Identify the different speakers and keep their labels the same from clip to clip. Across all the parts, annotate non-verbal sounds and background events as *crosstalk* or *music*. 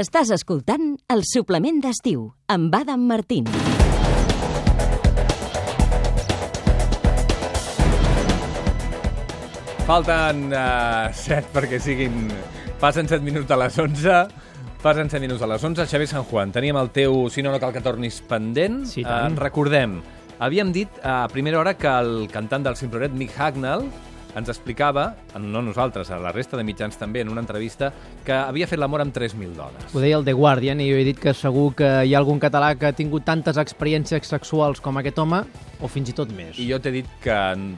Speaker 1: Estàs escoltant el suplement d'estiu amb Adam Martín.
Speaker 2: Falten uh, 7 perquè siguin... Passen 7 minuts a les 11. Passen 7 minuts a les 11. Xavier San Juan, teníem el teu Si no, no cal que tornis pendent.
Speaker 3: Sí, tant.
Speaker 2: Eh, recordem, havíem dit a primera hora que el cantant del Simproret, Mick Hagnall, ens explicava, no nosaltres, a la resta de mitjans també, en una entrevista, que havia fet l'amor amb 3.000 dones.
Speaker 3: Ho deia el The Guardian i jo he dit que segur que hi ha algun català que ha tingut tantes experiències sexuals com aquest home, o fins i tot més.
Speaker 2: I jo t'he dit que,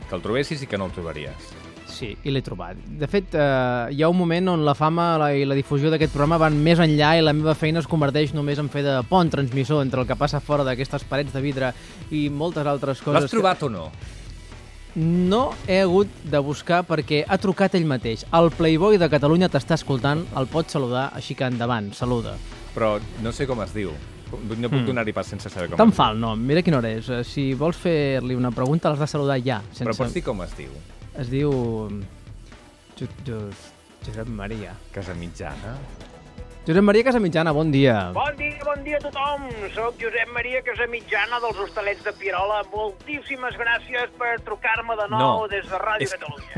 Speaker 2: que el trobessis i que no el trobaries.
Speaker 3: Sí, i l'he trobat. De fet, eh, hi ha un moment on la fama la, i la difusió d'aquest programa van més enllà i la meva feina es converteix només en fer de pont transmissor entre el que passa fora d'aquestes parets de vidre i moltes altres coses.
Speaker 2: L'has trobat o no?
Speaker 3: Que no he hagut de buscar perquè ha trucat ell mateix. El Playboy de Catalunya t'està escoltant, el pots saludar, així que endavant, saluda.
Speaker 2: Però no sé com es diu. No puc donar-hi pas sense saber com
Speaker 3: Te'n
Speaker 2: es
Speaker 3: Hmm. fa el nom, mira quina hora és. Eh, Si vols fer-li una pregunta, l'has de saludar ja.
Speaker 2: diu. Però pots dir com es diu?
Speaker 3: Es diu... Jo- Jo- Josep Maria.
Speaker 2: Casa mitjana?
Speaker 3: Josep Maria Casamitjana, bon dia.
Speaker 4: Bon dia, bon dia a tothom. Soc Josep Maria Casamitjana dels Hostalets de Pirola. Moltíssimes gràcies per trucar-me de nou
Speaker 2: No.
Speaker 4: des de Ràdio
Speaker 2: És-
Speaker 4: Catalunya.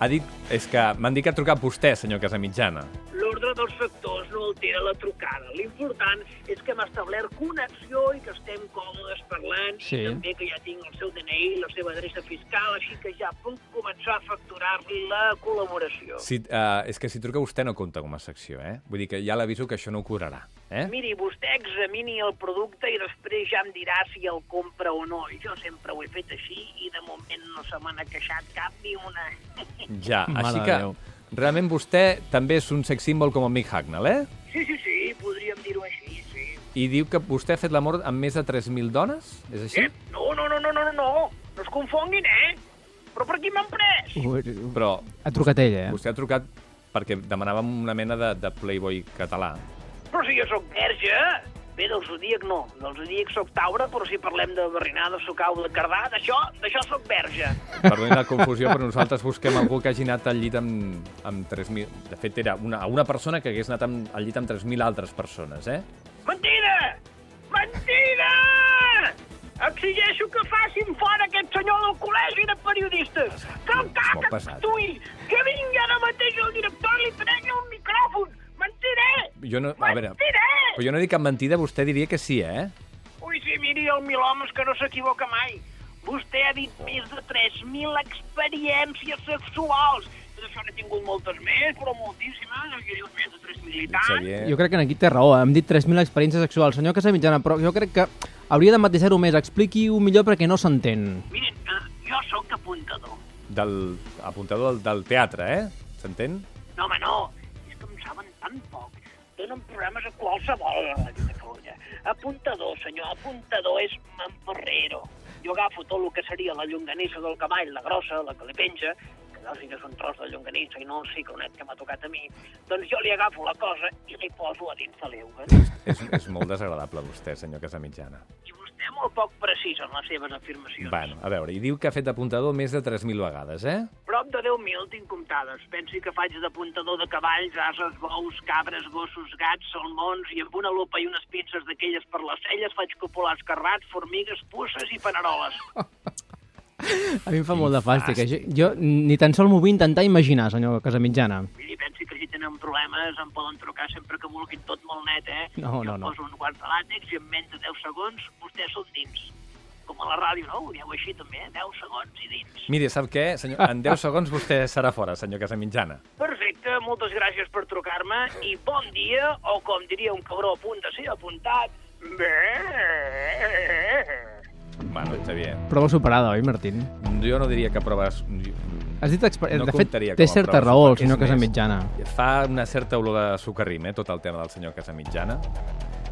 Speaker 2: Ha dit... És que m'han dit que ha trucat vostè, senyor Casamitjana.
Speaker 4: L'ordre dels factors no altera la trucada. L'important és que hem establert connexió i que estem còmodes parlant
Speaker 3: Sí.
Speaker 4: i també que ja tinc el seu DNI, la seva adreça fiscal, així que ja puc començar a facturar-li la col·laboració.
Speaker 2: Si, uh, és que si truca vostè no compta com a secció, eh? Vull dir que ja l'aviso que això no ho curarà, eh?
Speaker 4: Miri, vostè examini el producte i després ja em dirà si el compra o no. Jo sempre ho he fet així i de moment no se me n'ha queixat cap ni una.
Speaker 2: Ja,
Speaker 3: Mare
Speaker 2: així
Speaker 3: de
Speaker 2: que...
Speaker 3: Déu.
Speaker 2: Realment vostè també és un sex símbol com el Mick Hagnall, eh?
Speaker 4: *laughs* Sí, sí, sí, podríem dir-ho així, sí.
Speaker 2: I diu que vostè ha fet l'amor amb més de 3.000 dones? És així?
Speaker 4: Eh, No, no, no, no, no, no, no. No es confonguin, eh? Però per qui m'han pres?
Speaker 3: Ha
Speaker 2: Però
Speaker 3: trucat ell, eh?
Speaker 2: vostè ha trucat perquè demanàvem una mena de, de playboy català.
Speaker 4: Però si jo sóc verge. Bé, del zodíac no. Del zodíac sóc taure, però si parlem de barrinar, de sucar o de cardar, d'això, d'això sóc verge.
Speaker 2: Perdoni la confusió, però nosaltres busquem algú que hagi anat al llit amb, amb 3.000... De fet, era una, una persona que hagués anat amb, al llit amb 3.000 altres persones, eh?
Speaker 4: Mentida! Mentida! Exigeixo que facin fora aquest senyor del col·legi de periodistes. Que el
Speaker 2: és molt
Speaker 4: caca
Speaker 2: pesat.
Speaker 4: actuï! Que vingui ara mateix el director i li prengui un micròfon! Mentider!
Speaker 2: Jo no... A veure,
Speaker 4: Mentider!
Speaker 2: però jo no dic cap mentida, vostè diria que sí, eh?
Speaker 4: Ui, sí, miri, el Milhomes, que no s'equivoca mai. Vostè ha dit més de 3.000 experiències sexuals. Tot això n'he tingut moltes més, però moltíssimes. Jo diu més de 3.000 i tant.
Speaker 2: Xavier...
Speaker 3: Jo crec que en aquí té raó, hem dit 3.000 experiències sexuals, senyor Casamitjana, però jo crec que hauria de matisar-ho més, expliqui-ho millor perquè no s'entén.
Speaker 4: Miren, eh, jo sóc apuntador.
Speaker 2: Del apuntador del, del teatre, eh? S'entén?
Speaker 4: No, home, no. És que em saben tan poc. Donen programes a qualsevol a Catalunya. Apuntador, senyor, apuntador és mamporrero. Jo agafo tot el que seria la llonganissa del cavall, la grossa, la que li penja, que allò sí que és un tros de llonganissa i no el ciclonet que m'ha tocat a mi, doncs jo li agafo la cosa i li poso a dins de l'euga.
Speaker 2: És, és molt desagradable vostè, senyor Casamitjana.
Speaker 4: I vostè és molt poc precís en les seves afirmacions.
Speaker 2: Bueno, a veure, i diu que ha fet d'apuntador més de 3.000 vegades, eh?
Speaker 4: Prop de 10.000 tinc comptades. Pensi que faig d'apuntador de cavalls, ases, bous, cabres, gossos, gats, salmons, i amb una lupa i unes pinces d'aquelles per les celles faig copular escarrats, formigues, pusses i paneroles.
Speaker 3: Ah. A mi em fa molt de fàstic, això. jo ni tan sol m'ho vull intentar imaginar, senyor Casamitjana.
Speaker 4: I pensi que si tenen problemes em poden trucar sempre que vulguin tot molt net, eh?
Speaker 3: No,
Speaker 4: jo
Speaker 3: no,
Speaker 4: em
Speaker 3: no.
Speaker 4: poso un guard de làtex i en menys de 10 segons vostès són dins. Com a la ràdio, no? Ho dieu així també, eh? 10 segons i dins.
Speaker 2: Miri, sap què? Senyor, en 10 segons vostè serà fora, senyor Casamitjana.
Speaker 4: Perfecte, moltes gràcies per trucar-me i bon dia, o com diria un cabró a punt de ser apuntat, bé.
Speaker 2: Bueno, Xavier,
Speaker 3: Prova superada, oi, Martín?
Speaker 2: jo no diria que proves...
Speaker 3: Has dit experi...
Speaker 2: No
Speaker 3: de fet,
Speaker 2: comptaria
Speaker 3: té
Speaker 2: com a
Speaker 3: certa
Speaker 2: prova
Speaker 3: raó el
Speaker 2: superada,
Speaker 3: senyor
Speaker 2: és més.
Speaker 3: Casamitjana.
Speaker 2: Fa una certa olor de sucarrim, eh, tot el tema del senyor Casamitjana.